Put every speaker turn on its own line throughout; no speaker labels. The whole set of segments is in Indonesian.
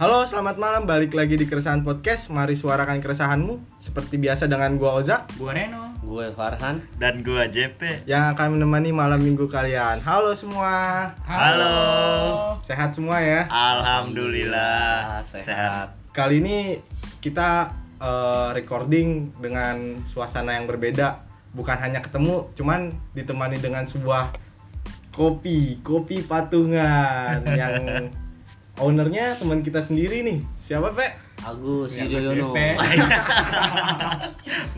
Halo, selamat malam. Balik lagi di Keresahan Podcast. Mari suarakan keresahanmu. Seperti biasa dengan gua Ozak
Bu Reno.
Gue Farhan.
dan gua JP.
yang akan menemani malam minggu kalian. Halo semua.
Halo.
Sehat semua ya.
Alhamdulillah
Ah, sehat.
Kali ini kita eh, recording dengan suasana yang berbeda. Bukan hanya ketemu, cuman ditemani dengan sebuah kopi, kopi patungan yang ownernya teman kita sendiri nih. Siapa, Pe?
Agus
Yang
Yudhoyono.
SPP.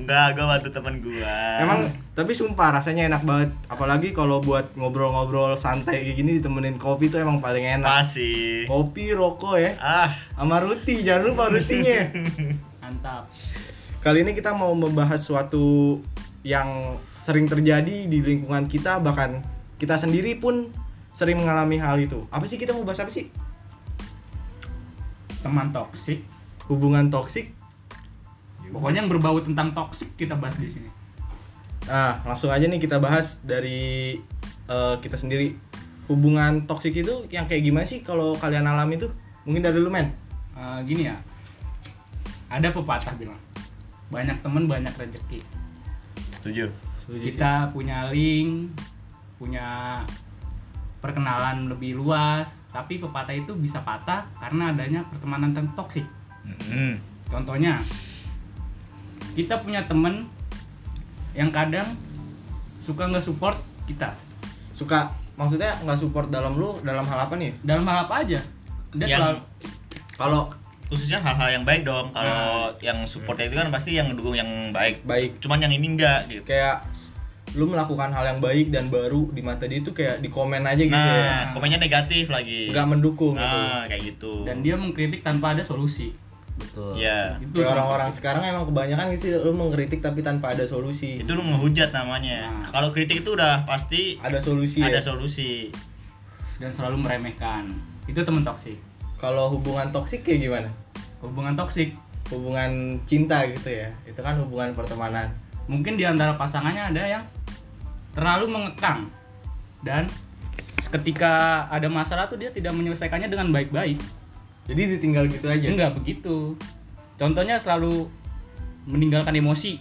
Enggak, gua bantu temen gua.
Emang tapi sumpah rasanya enak banget. Apalagi kalau buat ngobrol-ngobrol santai kayak gini ditemenin kopi tuh emang paling enak.
masih.
Kopi, rokok ya,
Ah,
sama roti. Jangan lupa rotinya.
Mantap.
Kali ini kita mau membahas suatu yang sering terjadi di lingkungan kita bahkan kita sendiri pun sering mengalami hal itu. Apa sih kita mau bahas apa sih?
Teman toksik.
Hubungan toksik.
Pokoknya yang berbau tentang toksik kita bahas di sini.
Nah, langsung aja nih kita bahas dari eh, kita sendiri. Hubungan toksik itu yang kayak gimana sih kalau kalian alami tuh? Mungkin dari lu, men.
Eh, gini ya. Ada pepatah bilang, banyak teman banyak rezeki.
setuju.
Setuju Iya sih.
Kita punya link, punya perkenalan lebih luas, tapi pepatah itu bisa patah karena adanya pertemanan yang toksik.
Mm-mm.
Contohnya, kita punya temen yang kadang suka nggak support kita.
suka maksudnya nggak support dalam lu dalam hal apa nih
Dalam hal apa aja? Dia
Yang-
selalu
kalau
Khususnya hal-hal yang baik dong. Kalau yang supportnya itu kan pasti yang dukung yang baik.
baik
Cuman yang ini enggak gitu.
kayak lu melakukan hal yang baik dan baru di mata dia itu kayak di komen aja gitu ya
Nah, komennya negatif lagi.
nggak mendukung gitu
Nah, kayak gitu.
dan dia mengkritik tanpa ada solusi.
Betul.
ya,
Itu
Kayak orang-orang sekarang emang kebanyakan gitu sih lu mengkritik tapi tanpa ada solusi
itu lu ngehujat namanya.
Nah.
Kalau kritik itu udah pasti
ada solusi ya
ada solusi.
dan selalu meremehkan. Itu temen toksik.
kalau hubungan toksik kayak gimana
Hubungan toksik
hubungan cinta gitu ya itu kan hubungan pertemanan
mungkin di antara pasangannya ada yang terlalu mengekang dan ketika ada masalah tuh dia tidak menyelesaikannya dengan baik-baik.
jadi ditinggal gitu
Iya.
aja
Enggak begitu. Contohnya selalu meninggalkan emosi,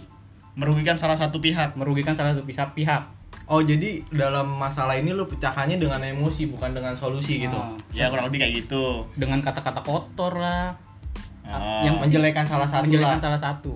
Merugikan salah satu pihak.
merugikan salah satu pihak. pihak.
oh jadi dalam masalah ini lu pecahannya dengan emosi bukan dengan solusi gitu
Nah,
Ya, kurang lebih kayak gitu.
dengan kata-kata kotor lah,
Ah.
Yang-
menjelekan salah satu
menjelekan
lah
salah satu.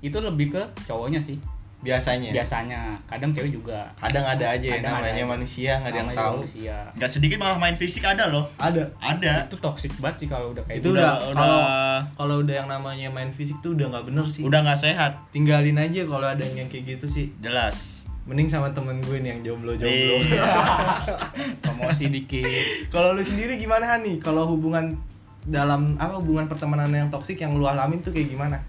Itu lebih ke cowoknya sih.
biasanya
Biasanya, kadang cewek juga.
kadang ada aja ya
Kadang ada
namanya
aja.
manusia nggak ada yang
Namanya
tahu
manusia.
Nggak sedikit malah main fisik ada loh.
ada
Ada.
Itu toxic banget sih kalau udah kayak
Itu
gitu.
udah-
udah
kalau udah yang namanya main fisik tuh udah nggak bener sih
udah nggak sehat
tinggalin aja kalau ada yang kayak gitu sih
jelas
mending sama temen gue nih yang jomblo jomblo
Iya.
Promosi dikit.
kalau lu sendiri gimana Han, nih kalau hubungan dalam apa hubungan pertemanan yang toksik yang lu alamin tuh kayak gimana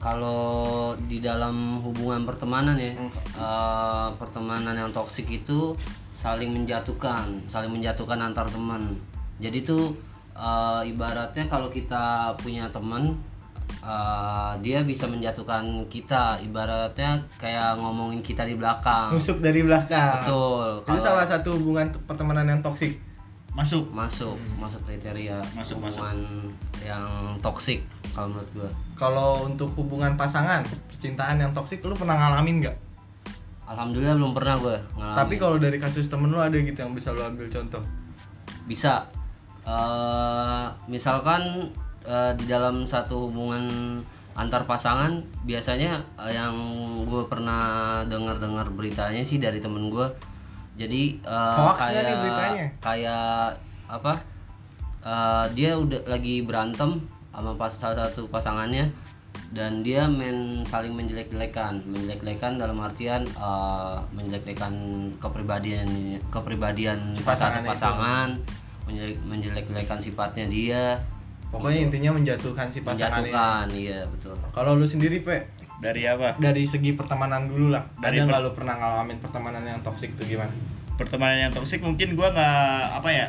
Kalau di dalam hubungan pertemanan ya, eh, pertemanan yang toksik itu saling menjatuhkan, saling menjatuhkan antar teman. Jadi tuh eh, ibaratnya kalau kita punya teman, eh, dia bisa menjatuhkan kita. Ibaratnya kayak ngomongin kita di
Ah.
belakang.
nusuk dari belakang
Betul.
itu
Kalau-
salah satu hubungan t- pertemanan yang toksik
masuk
masuk masuk kriteria
Masuk,
hubungan yang toksik kalau menurut gua
kalau untuk hubungan pasangan percintaan yang toksik lu pernah ngalamin nggak
alhamdulillah belum pernah gua ngalamin
tapi kalau dari kasus temen lu ada gitu yang bisa lu ambil contoh
bisa eh misalkan eh, di dalam satu hubungan antar pasangan biasanya eh, yang gue pernah dengar-dengar beritanya sih dari temen gue jadi eh,
Hoax nggak
kayak
nih beritanya?
kayak apa eh, dia udah lagi berantem sama pas salah satu pasangannya dan dia main saling menjelek-jelekan menjelek-jelekan dalam artian eh, menjelek-jelekan kepribadian kepribadian
Si
salah
pasangannya
satu
itu.
pasangan menjelek- menjelek-jelekan sifatnya dia
Iya.
Pokoknya intinya menjatuhkan si pasangan ini.
menjatuhkan iya betul
Kalau lu sendiri, Pe,
dari apa
dari segi pertemanan dulu lah. ada
Dari per-
nggak lu pernah ngalamin pertemanan yang toksik tuh gimana?
pertemanan yang toksik mungkin gua nggak apa ya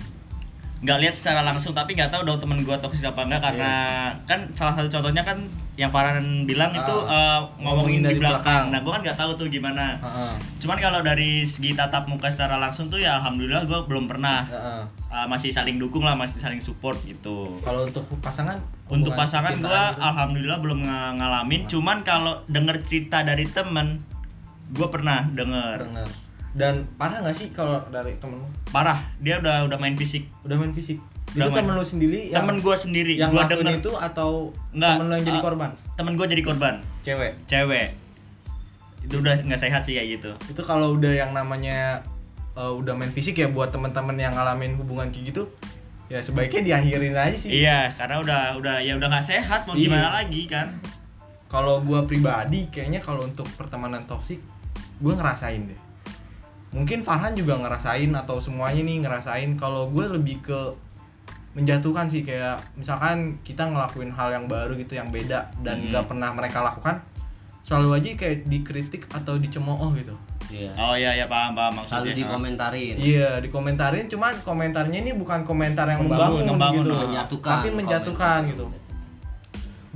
nggak lihat secara langsung tapi nggak tahu dong temen gue toksik apa enggak karena
Iya.
kan salah satu contohnya kan yang Farhan bilang
Ah,
itu eh,
ngomongin
ngomongin
dari
di belakang.
belakang. Ah.
Nah, gue kan nggak tahu tuh gimana.
Heeh.
Cuman kalau dari segi tatap muka secara langsung tuh ya alhamdulillah gue belum pernah
Heeh.
Ah, masih saling dukung lah, masih saling support gitu.
Kalau untuk pasangan
Untuk
hubungan
pasangan
percintaan
gua ah,
gitu.
alhamdulillah belum nga- ngalamin, cuman kalau denger cerita dari temen gua pernah denger.
Bener. Dan parah nggak sih kalau dari temen lu?
Parah, dia udah udah main fisik.
Udah main fisik. itu
Udah main.
temen lu sendiri yang
Temen gua sendiri,
yang
gua
ngelakuin
denger
itu atau
Nggak,
temen lu yang jadi
ah.
korban?
temen gua jadi korban,
Cewek.
cewek. Itu udah nggak sehat sih kayak gitu.
Itu kalau udah yang namanya eh, udah main fisik ya buat temen-temen yang ngalamin hubungan kayak gitu ya sebaiknya diakhirin aja sih.
Iya, karena udah udah ya udah nggak sehat mau
Iya.
gimana lagi kan.
kalau gua pribadi kayaknya kalau untuk pertemanan toksik gua ngerasain deh mungkin Farhan juga ngerasain atau semuanya nih ngerasain kalau gue lebih ke menjatuhkan sih kayak misalkan kita ngelakuin hal yang baru gitu yang beda dan
Hmm.
nggak pernah mereka lakukan selalu aja kayak dikritik atau dicemooh gitu
Iya.
Oh iya ya paham paham
Selalu
maksudnya.
dikomentarin.
oh. iya dikomentarin cuman komentarnya ini bukan komentar yang
Membangun,
membangun,
membangun,
gitu
ah.
Menjatuhkan.
tapi menjatuhkan
komen.
gitu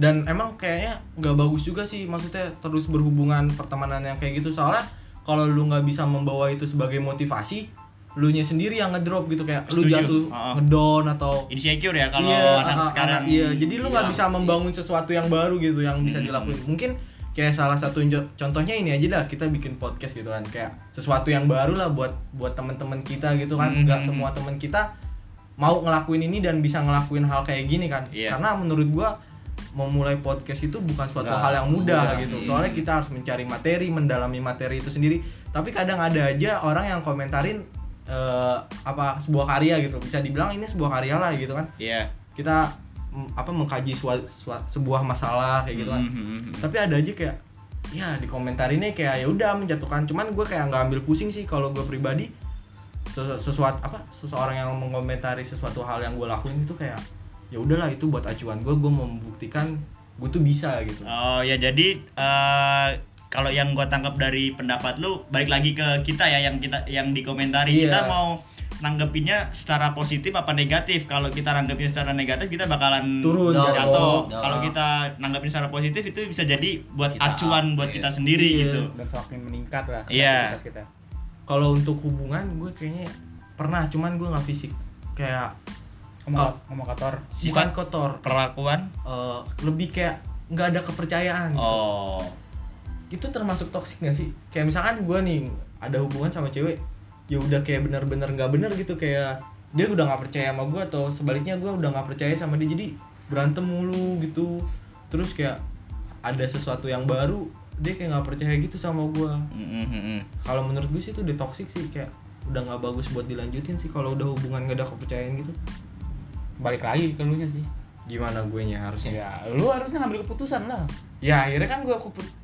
dan emang kayaknya nggak bagus juga sih maksudnya terus berhubungan pertemanan yang kayak gitu soalnya kalau lu nggak bisa membawa itu sebagai motivasi lu nya sendiri yang ngedrop gitu kayak lu
Setuju.
jatuh
Heeh.
ngedown atau
Insecure ya kalau
iya
anak
anak-
sekarang.
anak- iya jadi lu nggak
Iya.
bisa membangun sesuatu yang baru gitu yang bisa
Hmm.
dilakuin mungkin kayak salah satu jo- contohnya ini aja lah kita bikin podcast gitu kan kayak sesuatu yang baru lah buat buat temen-temen kita gitu kan
Hmm.
nggak semua temen kita mau ngelakuin ini dan bisa ngelakuin hal kayak gini kan
Iya.
karena menurut gua memulai podcast itu bukan suatu
Nggak
hal yang mudah,
mudah,
gitu
hmm.
soalnya kita harus mencari materi mendalami materi itu sendiri tapi kadang ada aja orang yang komentarin eh, apa sebuah karya gitu bisa dibilang ini sebuah karya lah gitu kan
Iya.
kita mm, apa mengkaji sua- sua- sebuah masalah kayak gitu kan
Mhm, mhm, mhm.
tapi ada aja kayak ya di komentar ini kayak ya udah menjatuhkan cuman gue kayak nggak ambil pusing sih kalau gue pribadi Sese- sesuatu apa seseorang yang mengomentari sesuatu hal yang gue lakuin itu kayak ya udahlah itu buat acuan gue gue membuktikan gue tuh bisa gitu
Oh ya jadi eh, kalau yang gua tangkap dari pendapat lu balik lagi ke kita ya yang kita yang dikomentari
Iya.
kita mau nanggepinnya secara positif apa negatif kalau kita nanggepin secara negatif kita bakalan
Turun,
jatuh
jatuh.
kalau kita nanggepin secara positif itu bisa jadi buat
Kita
acuan
up,
buat
iya.
kita sendiri
Iya.
gitu
dan semakin meningkat lah
Iya.
kapasitas kita
kalau untuk hubungan gue kayaknya pernah cuman gue nggak fisik kayak
ngomong, ngomong kotor
bukan
sifat
kotor
perlakuan
eh, lebih kayak nggak ada kepercayaan gitu.
oh
itu termasuk toksik gak sih? Kayak misalkan gue nih ada hubungan sama cewek, ya udah kayak bener-bener nggak bener gitu kayak dia udah nggak percaya sama gue atau sebaliknya gue udah nggak percaya sama dia jadi berantem mulu gitu. Terus kayak ada sesuatu yang baru dia kayak nggak percaya gitu sama gue.
Mhm, mhm.
Kalau menurut gue sih itu udah toksik sih kayak udah nggak bagus buat dilanjutin sih kalau udah hubungan gak ada kepercayaan gitu.
balik lagi ke lu nya sih
Gimana gue nya harusnya?
ya lu harusnya ngambil keputusan lah
Ya akhirnya kan gue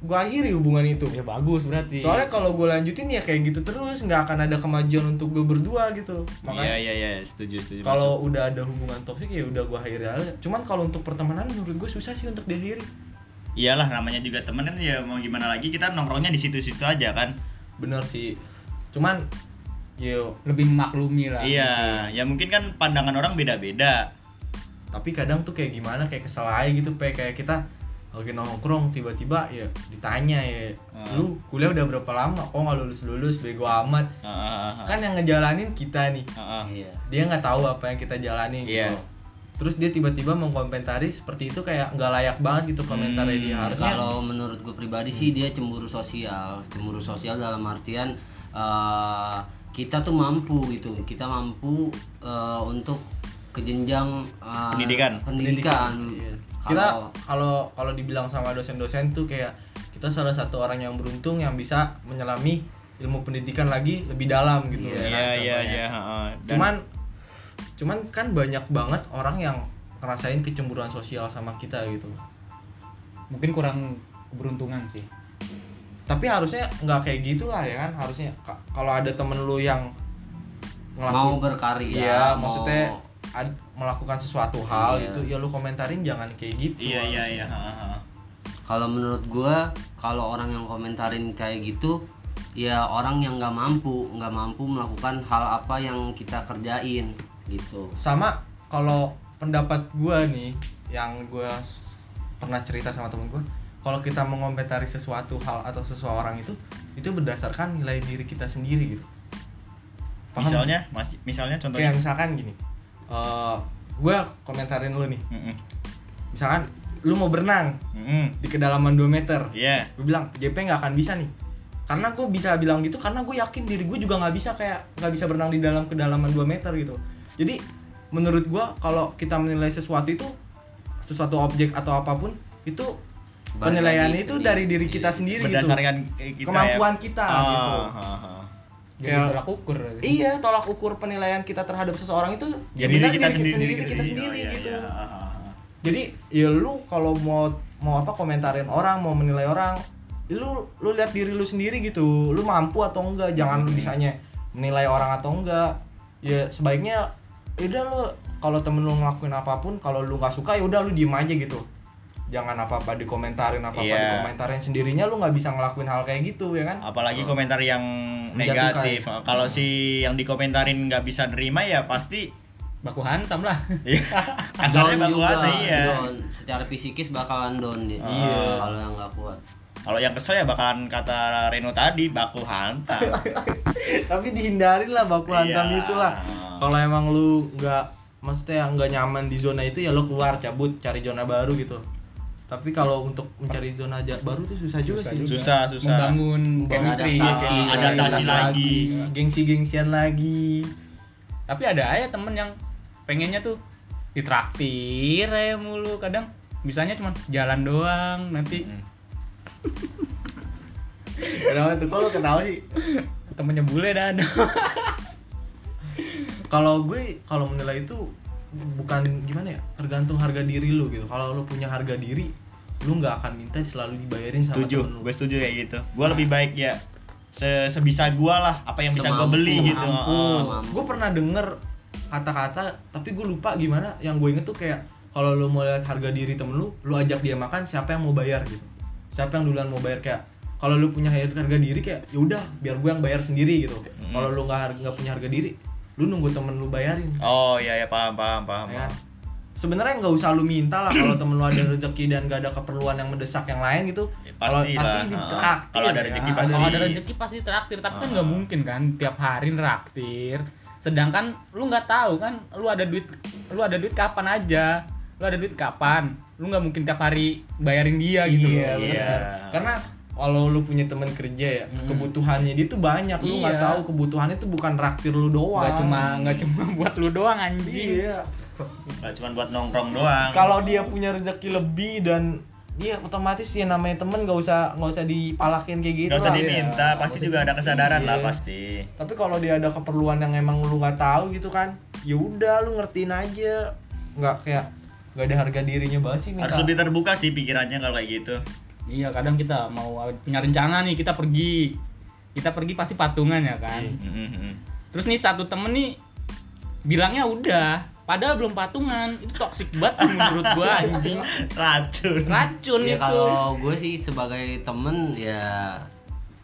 gue akhiri hubungan itu.
ya bagus berarti
Iya.
Soalnya kalau gue lanjutin ya kayak gitu terus nggak akan ada kemajuan untuk gue berdua gitu.
iya
Makanya
iya iya setuju setuju
kalau udah ada hubungan toksik ya udah gue akhiri aja. Cuman kalau untuk pertemanan menurut gue susah sih untuk diakhiri.
iyalah namanya juga temen kan ya mau gimana lagi kita nongkrongnya di situ-situ aja kan
Bener sih. Cuman ya
lebih memaklumi lah
iya
Gitu.
ya mungkin kan pandangan orang beda-beda
tapi kadang tuh kayak gimana kayak kesel aja gitu Pe. kayak kita lagi nongkrong tiba-tiba ya ditanya ya
Hmm.
lu kuliah udah berapa lama kok nggak lulus lulus bego amat
Ah, ah, ah, ah.
kan yang ngejalanin kita nih
Ah, ah.
Iya.
dia nggak tahu apa yang kita jalani
Iya.
gitu terus dia tiba-tiba mengkomentari seperti itu kayak nggak layak banget gitu komentarnya
Hmm,
dia harusnya
Kalau menurut gue pribadi sih dia cemburu sosial, cemburu sosial dalam artian eh, kita tuh mampu gitu, kita mampu eh, untuk ke jenjang eh,
Pendidikan.
pendidikan.
Iya. kita
Kalau
kalau kalau dibilang sama dosen-dosen tuh kayak kita salah satu orang yang beruntung yang bisa menyelami ilmu pendidikan lagi lebih dalam gitu ya kan,
Iya iya
contohnya.
iya. heeh. Dan-
cuman cuman kan banyak banget orang yang ngerasain kecemburuan sosial sama kita gitu
mungkin kurang keberuntungan sih
tapi harusnya nggak kayak gitulah ya kan harusnya Ka- kalau ada temen lu yang
mau
ngelakuin
berkarya,
Iya,
mau-
maksudnya ad- melakukan sesuatu hal
Iya.
gitu, ya lu komentarin jangan kayak gitu.
iya iya iya. heeh, heeh.
kalau menurut gua kalau orang yang komentarin kayak gitu ya orang yang nggak mampu nggak mampu melakukan hal apa yang kita kerjain gitu
sama kalau pendapat gua nih yang gua s- pernah cerita sama temen gua kalau kita mengomentari sesuatu hal atau seseorang itu itu berdasarkan nilai diri kita sendiri gitu Paham?
Misalnya, mas, misalnya contohnya.
kayak misalkan gini eh gua komentarin lu nih
Mm-mm.
misalkan lu mau berenang
Mm-mm.
di kedalaman 2 meter
Iya.
gue bilang JP nggak akan bisa nih karena gue bisa bilang gitu karena gue yakin diri gue juga nggak bisa kayak nggak bisa berenang di dalam kedalaman 2 meter gitu jadi menurut gue kalau kita menilai sesuatu itu sesuatu objek atau apapun itu
Balik
penilaian
lagi ke
itu
diri-
dari diri kita sendiri gitu
Berdasarkan eh, kita
kemampuan
ya.
kita
Ah,
gitu
ah, ah.
jadi
Kayak-
tolak ukur
iya tolak ukur penilaian kita terhadap seseorang itu ya
Jadi
benar
kita
diri
sendiri,
kita sendiri, kita sendiri
Oh, iya,
gitu
iya, ah, ah, ah.
jadi ya lu kalau mau mau apa komentarin orang mau menilai orang ya lu lu lihat diri lu sendiri gitu lu mampu atau enggak jangan lu bisanya menilai orang atau enggak ya sebaiknya ya udah lu kalau temen lu ngelakuin apapun kalau lu nggak suka ya udah lu diem aja gitu jangan apa apa dikomentarin apa apa
Iya.
dikomentarin sendirinya lu nggak bisa ngelakuin hal kayak gitu ya kan
apalagi komentar yang
Menjatuhkan.
negatif kalau si yang dikomentarin nggak bisa nerima ya pasti
baku hantam lah
iya, kasarnya
Down
baku hati iya
down. secara fisikis bakalan down dia
Iya.
kalau yang nggak kuat
kalau yang kesel ya bakalan kata Reno tadi baku hantam
tapi dihindarin lah baku hantam
Iya.
itulah kalau emang lu nggak maksudnya nggak nyaman di zona itu ya lu keluar cabut cari zona baru gitu tapi kalau untuk mencari zona ja- baru tuh susah juga
Susah
sih
juga.
susah susah
membangun chemistry
adaptasi.
chemistry.
Adaptasi
Adaptasi
lagi.
gengsi gengsian lagi
tapi ada aja temen yang pengennya tuh ditraktir aja mulu kadang bisanya cuma jalan doang nanti
Mm.
kenapa tuh kalau ketawa sih
temennya bule dah ada
kalau gue kalau menilai itu bukan gimana ya tergantung harga diri lu gitu kalau lu punya harga diri lu nggak akan minta selalu dibayarin sama
setuju
temen lu Nah.
gue setuju kayak gitu gue lebih baik ya se- sebisa gue lah apa yang bisa gue
Semampu,
beli gitu
semampu.
Heeh.
Mampu.
gue pernah denger kata-kata tapi gue lupa gimana yang gue inget tuh kayak kalau lu mau lihat harga diri temen lu lu ajak dia makan siapa yang mau bayar gitu siapa yang duluan mau bayar kayak kalau lu punya har- harga diri kayak yaudah biar gue yang bayar sendiri gitu kalau lu nggak har- nggak punya harga diri lu nunggu temen lu bayarin
oh iya ya paham paham paham
ya kan? sebenarnya nggak usah lu minta lah kalau temen lu ada rezeki dan gak ada keperluan yang mendesak yang lain gitu
Ya,
kalau
pasti lah.
pasti
Ah,
ditraktir
kalau ada
ya.
rezeki
Ah,
pasti.
kalau ada rezeki pasti traktir tapi kan nggak mungkin kan tiap hari traktir sedangkan lu nggak tahu kan lu ada duit lu ada duit kapan aja lu ada duit kapan lu nggak mungkin tiap hari bayarin dia gitu
iya,
loh.
benar.
Iya.
Karena kalau lu punya teman kerja ya,
Hmm.
kebutuhannya dia tuh banyak. Lu nggak
Iya.
tahu kebutuhannya tuh bukan raktir lu doang.
nggak cuma nggak cuma buat lu doang anjing
Iya.
Nggak cuma buat nongkrong doang
Kalau dia punya rezeki lebih dan dia otomatis ya namanya temen nggak usah nggak usah dipalakin kayak gitu
nggak usah
lah.
di-
diminta
Iya,
pasti
nggak
juga ada kesadaran lah
Iya.
pasti
Tapi kalau dia ada keperluan yang emang lu nggak tahu gitu kan, ya udah lu ngertiin aja. Nggak kayak nggak ada harga dirinya banget sih minta.
harus lebih terbuka sih pikirannya kalau kayak gitu
Iya kadang kita mau punya rencana nih kita pergi kita pergi pasti patungan ya kan.
Mm, mm, mm.
Terus nih satu temen nih bilangnya udah, padahal belum patungan itu toksik banget sih menurut gua anjing
racun
Nah,
racun
ya
itu.
kalau gue sih sebagai temen ya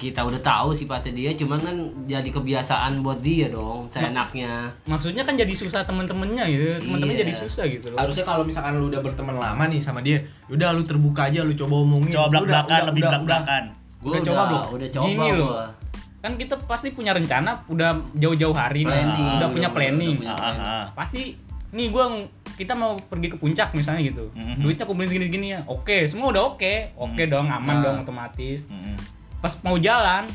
kita udah tahu sifatnya dia cuman kan jadi kebiasaan buat dia
Nah.
dong seenaknya
Maksudnya kan jadi susah temen-temennya gitu, temen-temen
Iya.
jadi susah gitu loh.
harusnya kalau misalkan lu udah berteman lama nih sama dia, ya udah lu terbuka aja, lu coba omongin.
coba
Udah,
belak-belakan
udah,
lebih
udah, udah.
belak-belakan
gue
Udah
udah
coba
coba
belum?
udah coba
Gini loh,
gua.
kan kita pasti punya rencana udah jauh-jauh hari nih,
Planning,
udah punya
Nah, udah-
planning.
Iya,
udah punya.
Ah, ah, ah.
Pasti nih gua ng- kita mau pergi ke puncak misalnya gitu,
Mhm.
duitnya kumpulin segini-segini ya, oke semua udah oke, oke dong aman
Nah.
dong otomatis.
Mm, mm.
pas mau jalan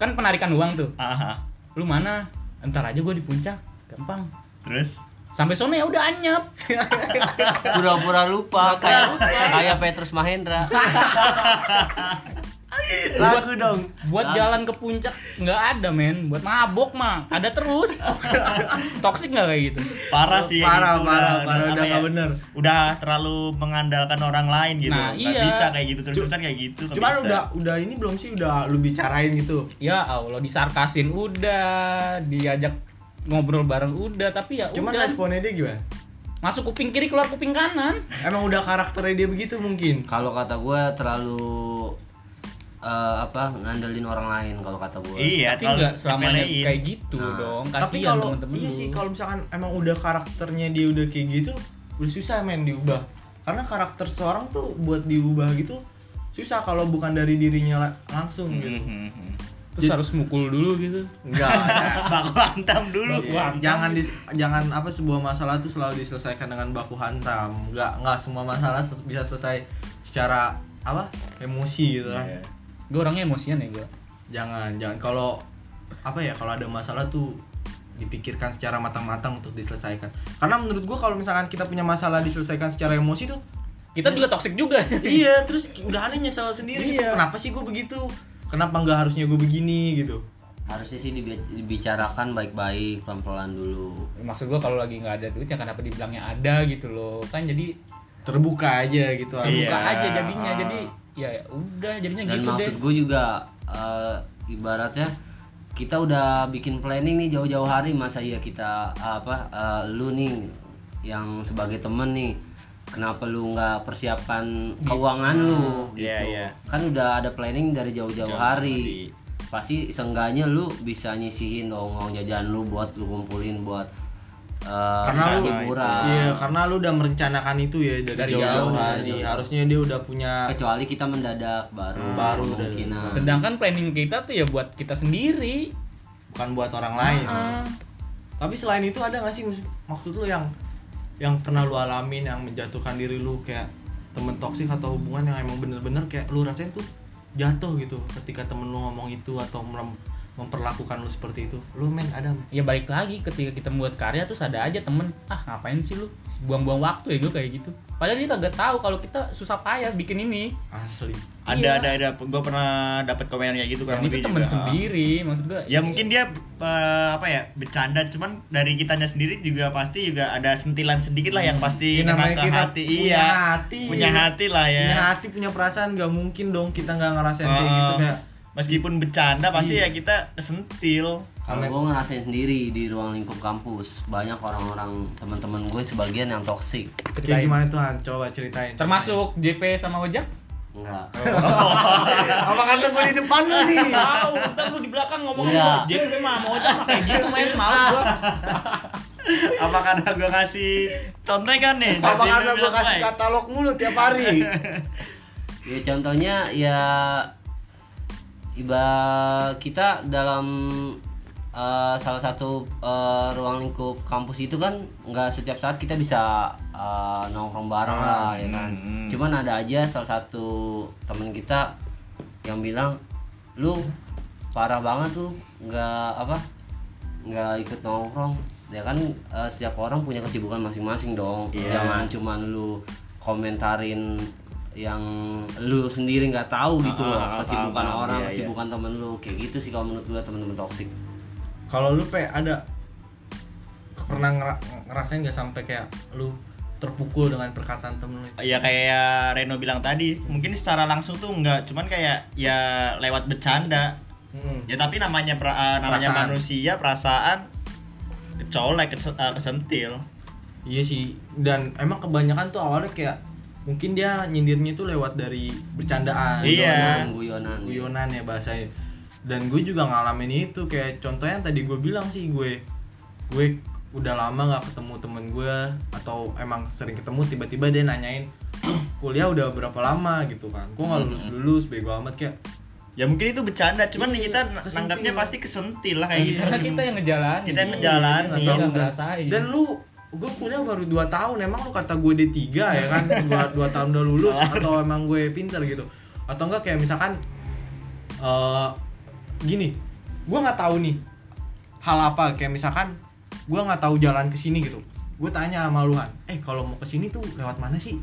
kan penarikan uang tuh
Ah, ah.
lu mana entar aja gue di puncak gampang
terus
sampai sono ya udah anyap
pura-pura lupa kayak kayak Petrus Mahendra
Lagu dong.
buat jalan ke puncak nggak ada men buat mabok mah ada terus toksik nggak kayak gitu
parah sih kayak
Parah,
gitu,
parah,
udah-
parah,
apa
udah
ya,
nggak bener.
udah terlalu mengandalkan orang lain gitu
Nah,
nggak
iya.
bisa kayak gitu terus kan kayak gitu nggak
Cuman
bisa.
udah udah ini belum sih udah lu bicarain gitu.
ya allah disarkasin udah diajak ngobrol bareng udah tapi ya
Cuman
udah
responnya dia gimana?
masuk kuping kiri keluar kuping kanan
Emang udah karakternya dia begitu mungkin.
kalau kata gue terlalu eh, apa ngandelin orang lain Eh, kalau kata gue
Iya,
tapi
terlalu
nggak selamanya
nyepelein.
kayak gitu
Nah.
dong
tapi
kasihan
kalau
temen-temen
iya
lu.
sih kalau misalkan emang udah karakternya dia udah kayak gitu udah susah main diubah karena karakter seorang tuh buat diubah gitu susah kalau bukan dari dirinya la- langsung gitu
Hmm.
Mhm.
terus harus mukul dulu gitu
enggak ya.
Baku hantam dulu.
Iya, jangan dis- jangan apa sebuah masalah tuh selalu diselesaikan dengan baku hantam nggak nggak semua masalah ses- bisa selesai secara apa emosi gitu kan
Iya.
gue orangnya emosian ya gue
jangan jangan kalau apa ya kalau ada masalah tuh dipikirkan secara matang-matang untuk diselesaikan karena menurut gua kalau misalkan kita punya masalah diselesaikan secara emosi tuh
kita juga toksik juga
iya terus udah aneh nyesel sendiri gitu
Iya.
kenapa sih gue begitu kenapa nggak harusnya gue begini gitu
harusnya sih dibi- dibicarakan baik-baik pelan-pelan dulu
maksud gue kalau lagi nggak ada duit ya kenapa dibilangnya ada gitu loh kan jadi
terbuka aja gitu
Iya.
buka aja jadinya
ah.
jadi ya ya udah
Nah,
jadinya
dan
gitu
maksud
deh
gue juga eh, ibaratnya kita udah bikin planning nih jauh-jauh hari masa iya kita apa eh, lu nih yang sebagai temen nih kenapa lu nggak persiapan keuangan lu
Hmm.
gitu
Iya, iya.
kan udah ada planning dari jauh-jauh
Jauh
hari pasti seenggaknya lu bisa nyisihin dong uang jajan lu buat lu kumpulin buat eh,
Karena lu-
hiburan
Iya, karena lu udah merencanakan itu ya dari,
Dari
jauh
jauh,
hari.
dari jauh.
Harusnya dia udah punya
kecuali kita mendadak baru
Baru udah.
kemungkinan
sedangkan planning kita tuh ya buat kita sendiri
bukan buat orang lain.
Ah.
Tapi selain itu ada nggak sih mus- maksud lu yang yang pernah lu alamin yang menjatuhkan diri lu kayak temen toksik atau hubungan yang emang bener-bener kayak lu rasain tuh jatuh gitu ketika temen lu ngomong itu atau merem- memperlakukan lu seperti itu. Lu men ada men?
ya balik lagi ketika kita membuat karya terus ada aja temen ah ngapain sih lu buang-buang waktu ya gue kayak gitu padahal dia kagak tahu kalau kita susah payah bikin ini
asli.
Ada
Iya.
ada ada gue pernah dapat komen kayak gitu
dan
kurang
itu
lebih
temen
juga.
sendiri maksud gue
Ya mungkin dia eh, apa ya bercanda cuman dari kitanya sendiri juga pasti juga ada sentilan sedikit lah yang pasti
Ini Hmm. Ya, namanya
nyenangkan
kita
hati
punya
iya
hati.
punya hati lah ya
Punya
Iya.
hati punya perasaan nggak mungkin dong kita nggak ngerasain
Ah,
kayak
Eh,
gitu kayak
meskipun bercanda pasti
Iya.
ya kita sentil
Kalau
Amin.
gue ngerasain sendiri di ruang lingkup kampus banyak orang-orang teman-teman gue sebagian yang toksik.
kayak
ceritain.
gimana tuh Han? Coba ceritain.
termasuk JP sama Ojak
Enggak.
apa karena gue di depan lu nih?
Iya.
tahu ntar lu di belakang ngomong
Enggak.
sama JP mah sama Ojak mah kayak gitu main males gue
apa karena gue kasih contekan nih
Apa
Jadi lu
karena gue
bilang,
kasih
"Mai,
katalog mulu tiap hari?
Ya contohnya ya iba kita dalam eh, salah satu eh, ruang lingkup kampus itu kan nggak setiap saat kita bisa eh, nongkrong bareng lah ya kan.
Ah, hmm, hmm.
Cuman ada aja salah satu temen kita yang bilang lu parah banget tuh nggak apa nggak ikut nongkrong ya kan eh, setiap orang punya kesibukan masing-masing dong ya kan?
Iya.
jangan cuman lu komentarin yang lu sendiri nggak tahu gitu
Ah,
loh
ah, ah,
kesibukan
paham, paham.
orang
Iya, iya.
kesibukan temen lu kayak gitu sih kalau menurut gua temen-temen toksik
Kalau lu pe ada pernah ngera- ngerasain gak sampai kayak lu terpukul dengan perkataan temen lu itu?
ya kayak Reno bilang tadi mungkin secara langsung tuh enggak cuman kayak ya lewat bercanda
Hmm.
ya tapi namanya pra- eh, namanya
Perasaan.
manusia perasaan colek kes- eh, kesentil
Iya sih. Dan emang kebanyakan tuh awalnya kayak mungkin dia nyindirnya tuh lewat dari bercandaan.
Iya.
Guyonan, guyonan
guyonan ya bahasanya dan gue juga ngalamin itu kayak contohnya yang tadi gue bilang sih gue gue udah lama nggak ketemu temen gue atau emang sering ketemu tiba-tiba dia nanyain "Lu kuliah udah berapa lama gitu kan gue nggak lulus lulus bego amat kayak
ya mungkin itu bercanda cuman
Iya,
kita
kesentil.
nanggapnya pasti kesentil lah kayak
Iya.
gitu
karena kita yang ngejalanin
Kita yang
Iya,
ngejalanin.
kita nggak
Iya,
tahu
dan-
ngerasain
dan lu gue kuliah baru 2 tahun emang lu kata gue D3 ya kan dua, dua tahun udah lulus atau emang gue pinter gitu atau enggak kayak misalkan eh gini gue nggak tahu nih hal apa kayak misalkan gue nggak tahu jalan ke sini gitu gue tanya sama lu Han, eh kalau mau ke sini tuh lewat mana sih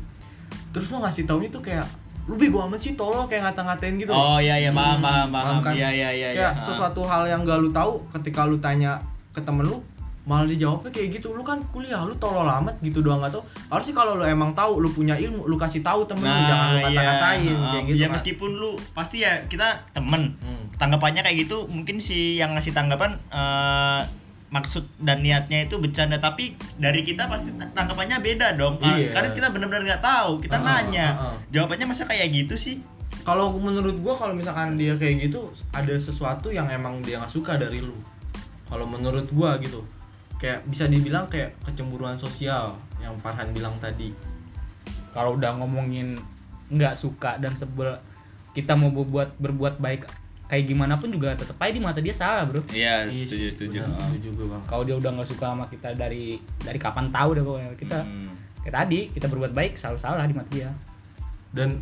terus lu ngasih taunya tuh kayak lu bego amat sih tolol kayak ngata-ngatain gitu loh.
oh iya iya paham paham
paham
paham
kan?
iya iya iya
kayak
iya.
sesuatu hal yang gak lu tahu ketika lu tanya ke temen lu malah dijawabnya kayak gitu lu kan kuliah lu tolol amat gitu doang gak tau harusnya kalau lu emang tahu lu punya ilmu lu kasih tahu temen lu jangan lu
iya,
kata-katain
ah,
kayak gitu
ya
kan.
meskipun lu pasti ya kita temen
Hmm.
tanggapannya kayak gitu mungkin si yang ngasih tanggapan eh, maksud dan niatnya itu bercanda tapi dari kita pasti ta- tanggapannya beda dong Kak.
Iya.
karena kita benar-benar nggak tahu kita
Ah,
nanya
ah, ah.
jawabannya masa kayak gitu sih
kalau menurut gua kalau misalkan dia kayak gitu ada sesuatu yang emang dia nggak suka dari lu kalau menurut gua gitu kayak bisa dibilang kayak kecemburuan sosial yang Farhan bilang tadi
kalau udah ngomongin nggak suka dan sebel kita mau berbuat berbuat baik kayak gimana pun juga tetap aja di mata dia salah bro
Iya,
Iya
setuju,
sih,
setuju.
benar,
Heeh.
setuju gua bang
kalau dia udah nggak suka sama kita dari dari kapan tahu deh pokoknya kita
Hmm.
kayak tadi kita berbuat baik salah salah di mata dia
dan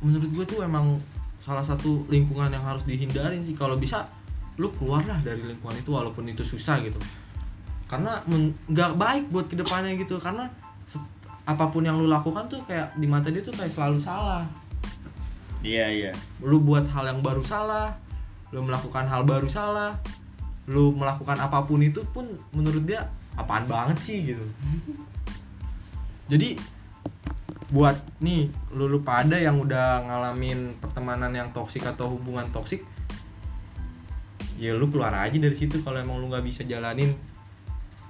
menurut gue tuh emang salah satu lingkungan yang harus dihindarin sih kalau bisa lu keluarlah dari lingkungan itu walaupun itu susah gitu karena men- nggak baik buat kedepannya gitu karena set- apapun yang lu lakukan tuh kayak di mata dia tuh kayak selalu salah
Iya, iya.
lu buat hal yang baru salah lu melakukan hal baru salah lu melakukan apapun itu pun menurut dia apaan banget sih gitu jadi buat nih lu lu pada yang udah ngalamin pertemanan yang toksik atau hubungan toksik ya lu keluar aja dari situ kalau emang lu nggak bisa jalanin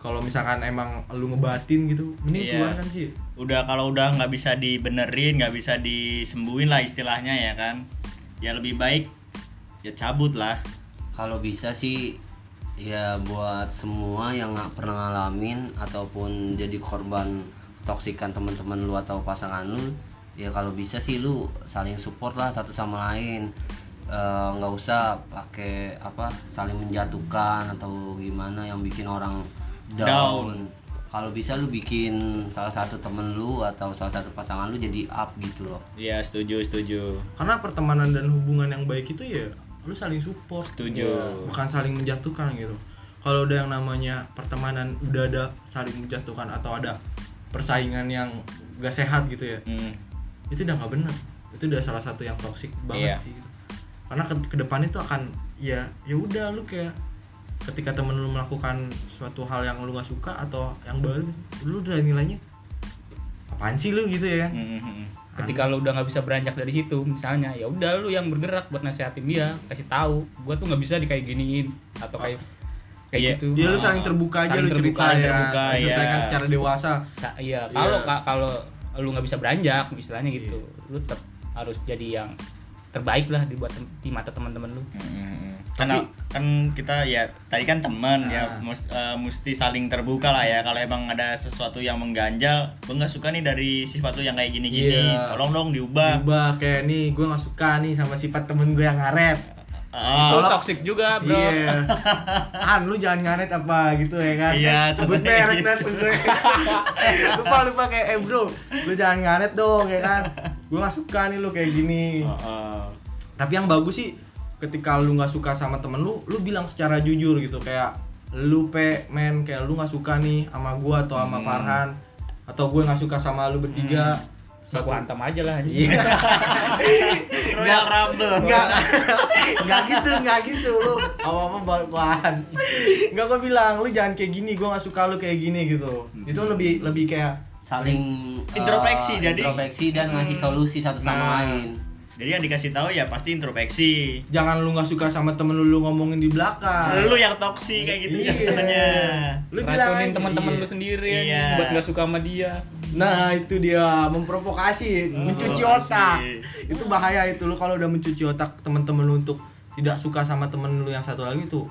kalau misalkan emang lu ngebatin gitu mending
Iya.
keluar kan sih
Udah kalau udah nggak bisa dibenerin, nggak bisa disembuhin lah istilahnya ya kan. Ya lebih baik ya cabut lah.
kalau bisa sih ya buat semua yang nggak pernah ngalamin ataupun jadi korban toksikan teman-teman lu atau pasangan lu ya kalau bisa sih lu saling support lah satu sama lain Eh, nggak usah pakai apa saling menjatuhkan atau gimana yang bikin orang down,
Down.
kalau bisa lu bikin salah satu temen lu atau salah satu pasangan lu jadi up gitu loh
Iya, setuju, setuju.
karena pertemanan dan hubungan yang baik itu ya lu saling support Iya.
Setuju.
bukan saling menjatuhkan gitu kalau udah yang namanya pertemanan udah ada saling menjatuhkan atau ada persaingan yang gak sehat gitu ya
Hmm.
itu udah nggak bener itu udah salah satu yang toksik banget
Iya.
sih gitu. karena ke kedepannya tuh akan ya ya udah lu kayak ketika temen lu melakukan suatu hal yang lu gak suka atau yang baru lu udah nilainya apaan sih lu gitu ya kan
Hmm, hmm, hmm.
ketika lo udah nggak bisa beranjak dari situ misalnya ya udah lu yang bergerak buat nasehatin dia kasih tahu gua tuh nggak bisa di kayak giniin atau kayak kayak
Iya.
gitu
Ya lu saling terbuka aja
Saling
lu cerita
terbuka,
ya.
terbuka,
Terbuka, Selesaikan
ya.
secara dewasa.
Sa- iya kalau
Iya.
ka- kalau lu nggak bisa beranjak misalnya gitu lu tetap harus jadi yang terbaik lah dibuat tem- di mata teman-teman lu
Mm-mm. Karena
Tapi-
kan kita ya tadi kan teman ya
Ah.
mus- eh, mesti saling terbuka lah ya kalau emang ada sesuatu yang mengganjal gue nggak suka nih dari sifat lu yang kayak gini-gini
Iya.
tolong dong diubah
Berubah kayak nih gue gak suka nih sama sifat temen gue yang ngaret.
itu
Ah,
Tolong.
toxic juga bro
Iya. An lu jangan ngaret apa gitu ya kan.
Iya,
sebut
contohnya
merek
gitu.
nanti gue. lupa lupa kayak eh bro, lu jangan ngaret dong ya kan. Gue gak suka nih lu kayak gini.
ah, ah.
Tapi yang bagus sih ketika lu nggak suka sama temen lu, lu bilang secara jujur gitu kayak lu pe men kayak lu nggak suka nih sama gua atau sama
Hmm.
Farhan atau gue nggak suka sama lu bertiga
Gua antam aja lah anjing.
Iya.
Royal Rumble
Enggak. Enggak gitu, enggak gitu lu. Apa-apa bawaan. Enggak gua bilang lu jangan kayak gini, gua nggak suka lu kayak gini gitu.
Hmm.
Itu lebih lebih kayak
saling eh,
Introspeksi, jadi-
introspeksi dan ngasih solusi satu
Nah.
sama lain
jadi yang dikasih tahu ya pasti introspeksi
jangan lu nggak suka sama temen lu, lu ngomongin di belakang.
lu yang toksi kayak gitu
Ah. Iya.
jatuhnya
Lu bilang
racunin
aja,
teman-teman
iya.
lu sendiri
Iya.
anjing, buat nggak suka sama dia
Nah, itu dia memprovokasi, mencuci
Oh,
otak. Itu bahaya itu lu kalau udah mencuci otak temen-temen lu untuk tidak suka sama temen lu yang satu lagi tuh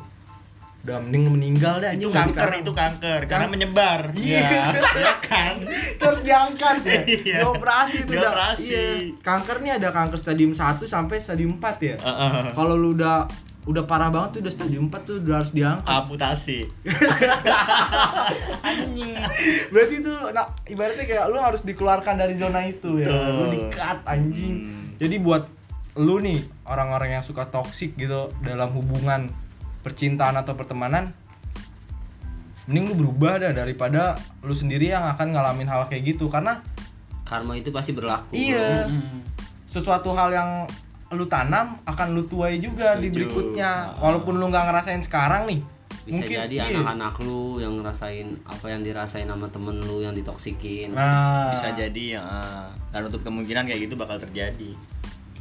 udah mending meninggal deh anjing
itu
kan
kanker
sekarang. Kan-
itu kan- kanker karena menyebar
Iya.
ya kan
terus diangkat ya
Iya.
dioperasi itu udah
Dioperasi.
iya. kanker nih ada kanker stadium 1 sampai stadium 4 ya
Ah, ah.
kalau lu udah udah parah banget tuh udah stadium 4 tuh udah harus diangkat
amputasi
anjing
berarti itu nah, ibaratnya kayak lu harus dikeluarkan dari zona itu ya
Betul.
lu di-cut anjing
Hmm.
jadi buat lu nih orang-orang yang suka toksik gitu dalam hubungan percintaan atau pertemanan mending lu berubah dah daripada lu sendiri yang akan ngalamin hal kayak gitu karena
karma itu pasti berlaku
iya
Hmm.
sesuatu hal yang lu tanam akan lu tuai juga di
Setuju.
berikutnya
Ah.
walaupun lu nggak ngerasain sekarang nih
bisa jadi
iya.
anak-anak lu yang ngerasain apa yang dirasain sama temen lu yang ditoksikin
nah
bisa jadi ya ah. dan untuk kemungkinan kayak gitu bakal terjadi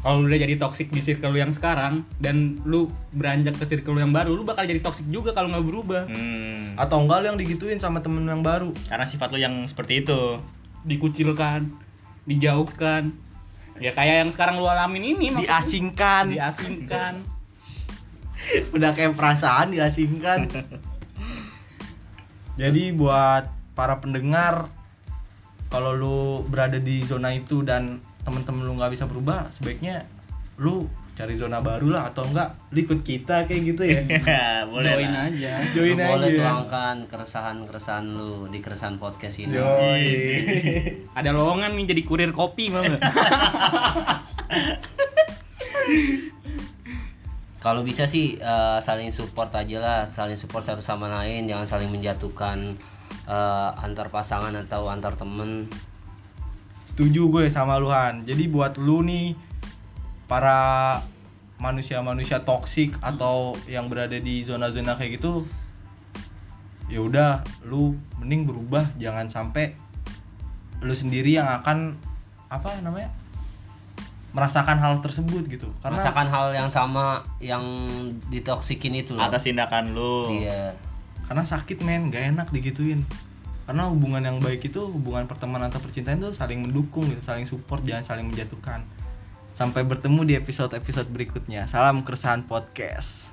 kalau lu udah jadi toxic di circle lu yang sekarang dan lu beranjak ke circle lu yang baru lu bakal jadi toxic juga kalau nggak berubah
hmm.
atau enggak lu yang digituin sama temen yang baru
karena sifat lo yang seperti itu
dikucilkan dijauhkan ya kayak yang sekarang lu alamin ini maksudnya.
diasingkan
diasingkan
udah kayak perasaan diasingkan jadi buat para pendengar kalau lu berada di zona itu dan temen-temen lu nggak bisa berubah sebaiknya lu cari zona baru lah atau enggak lu ikut kita kayak gitu ya
boleh
join
lah.
aja
join
Lu boleh
aja
tuangkan keresahan-keresahan lu di keresahan podcast ini.
Yoi.
ada lowongan nih jadi kurir kopi mau nggak
Kalau bisa sih eh, saling support aja lah, saling support satu sama lain, jangan saling menjatuhkan eh, antar pasangan atau antar temen.
setuju gue sama lu Han jadi buat lu nih para manusia-manusia toksik atau yang berada di zona-zona kayak gitu ya udah lu mending berubah jangan sampai lu sendiri yang akan apa namanya merasakan hal tersebut gitu karena
Rasakan hal yang sama yang ditoksikin itu loh.
atas tindakan lu
Iya.
karena sakit men gak enak digituin karena hubungan yang baik itu hubungan pertemanan atau percintaan itu saling mendukung gitu saling support jangan saling menjatuhkan sampai bertemu di episode-episode berikutnya salam keresahan podcast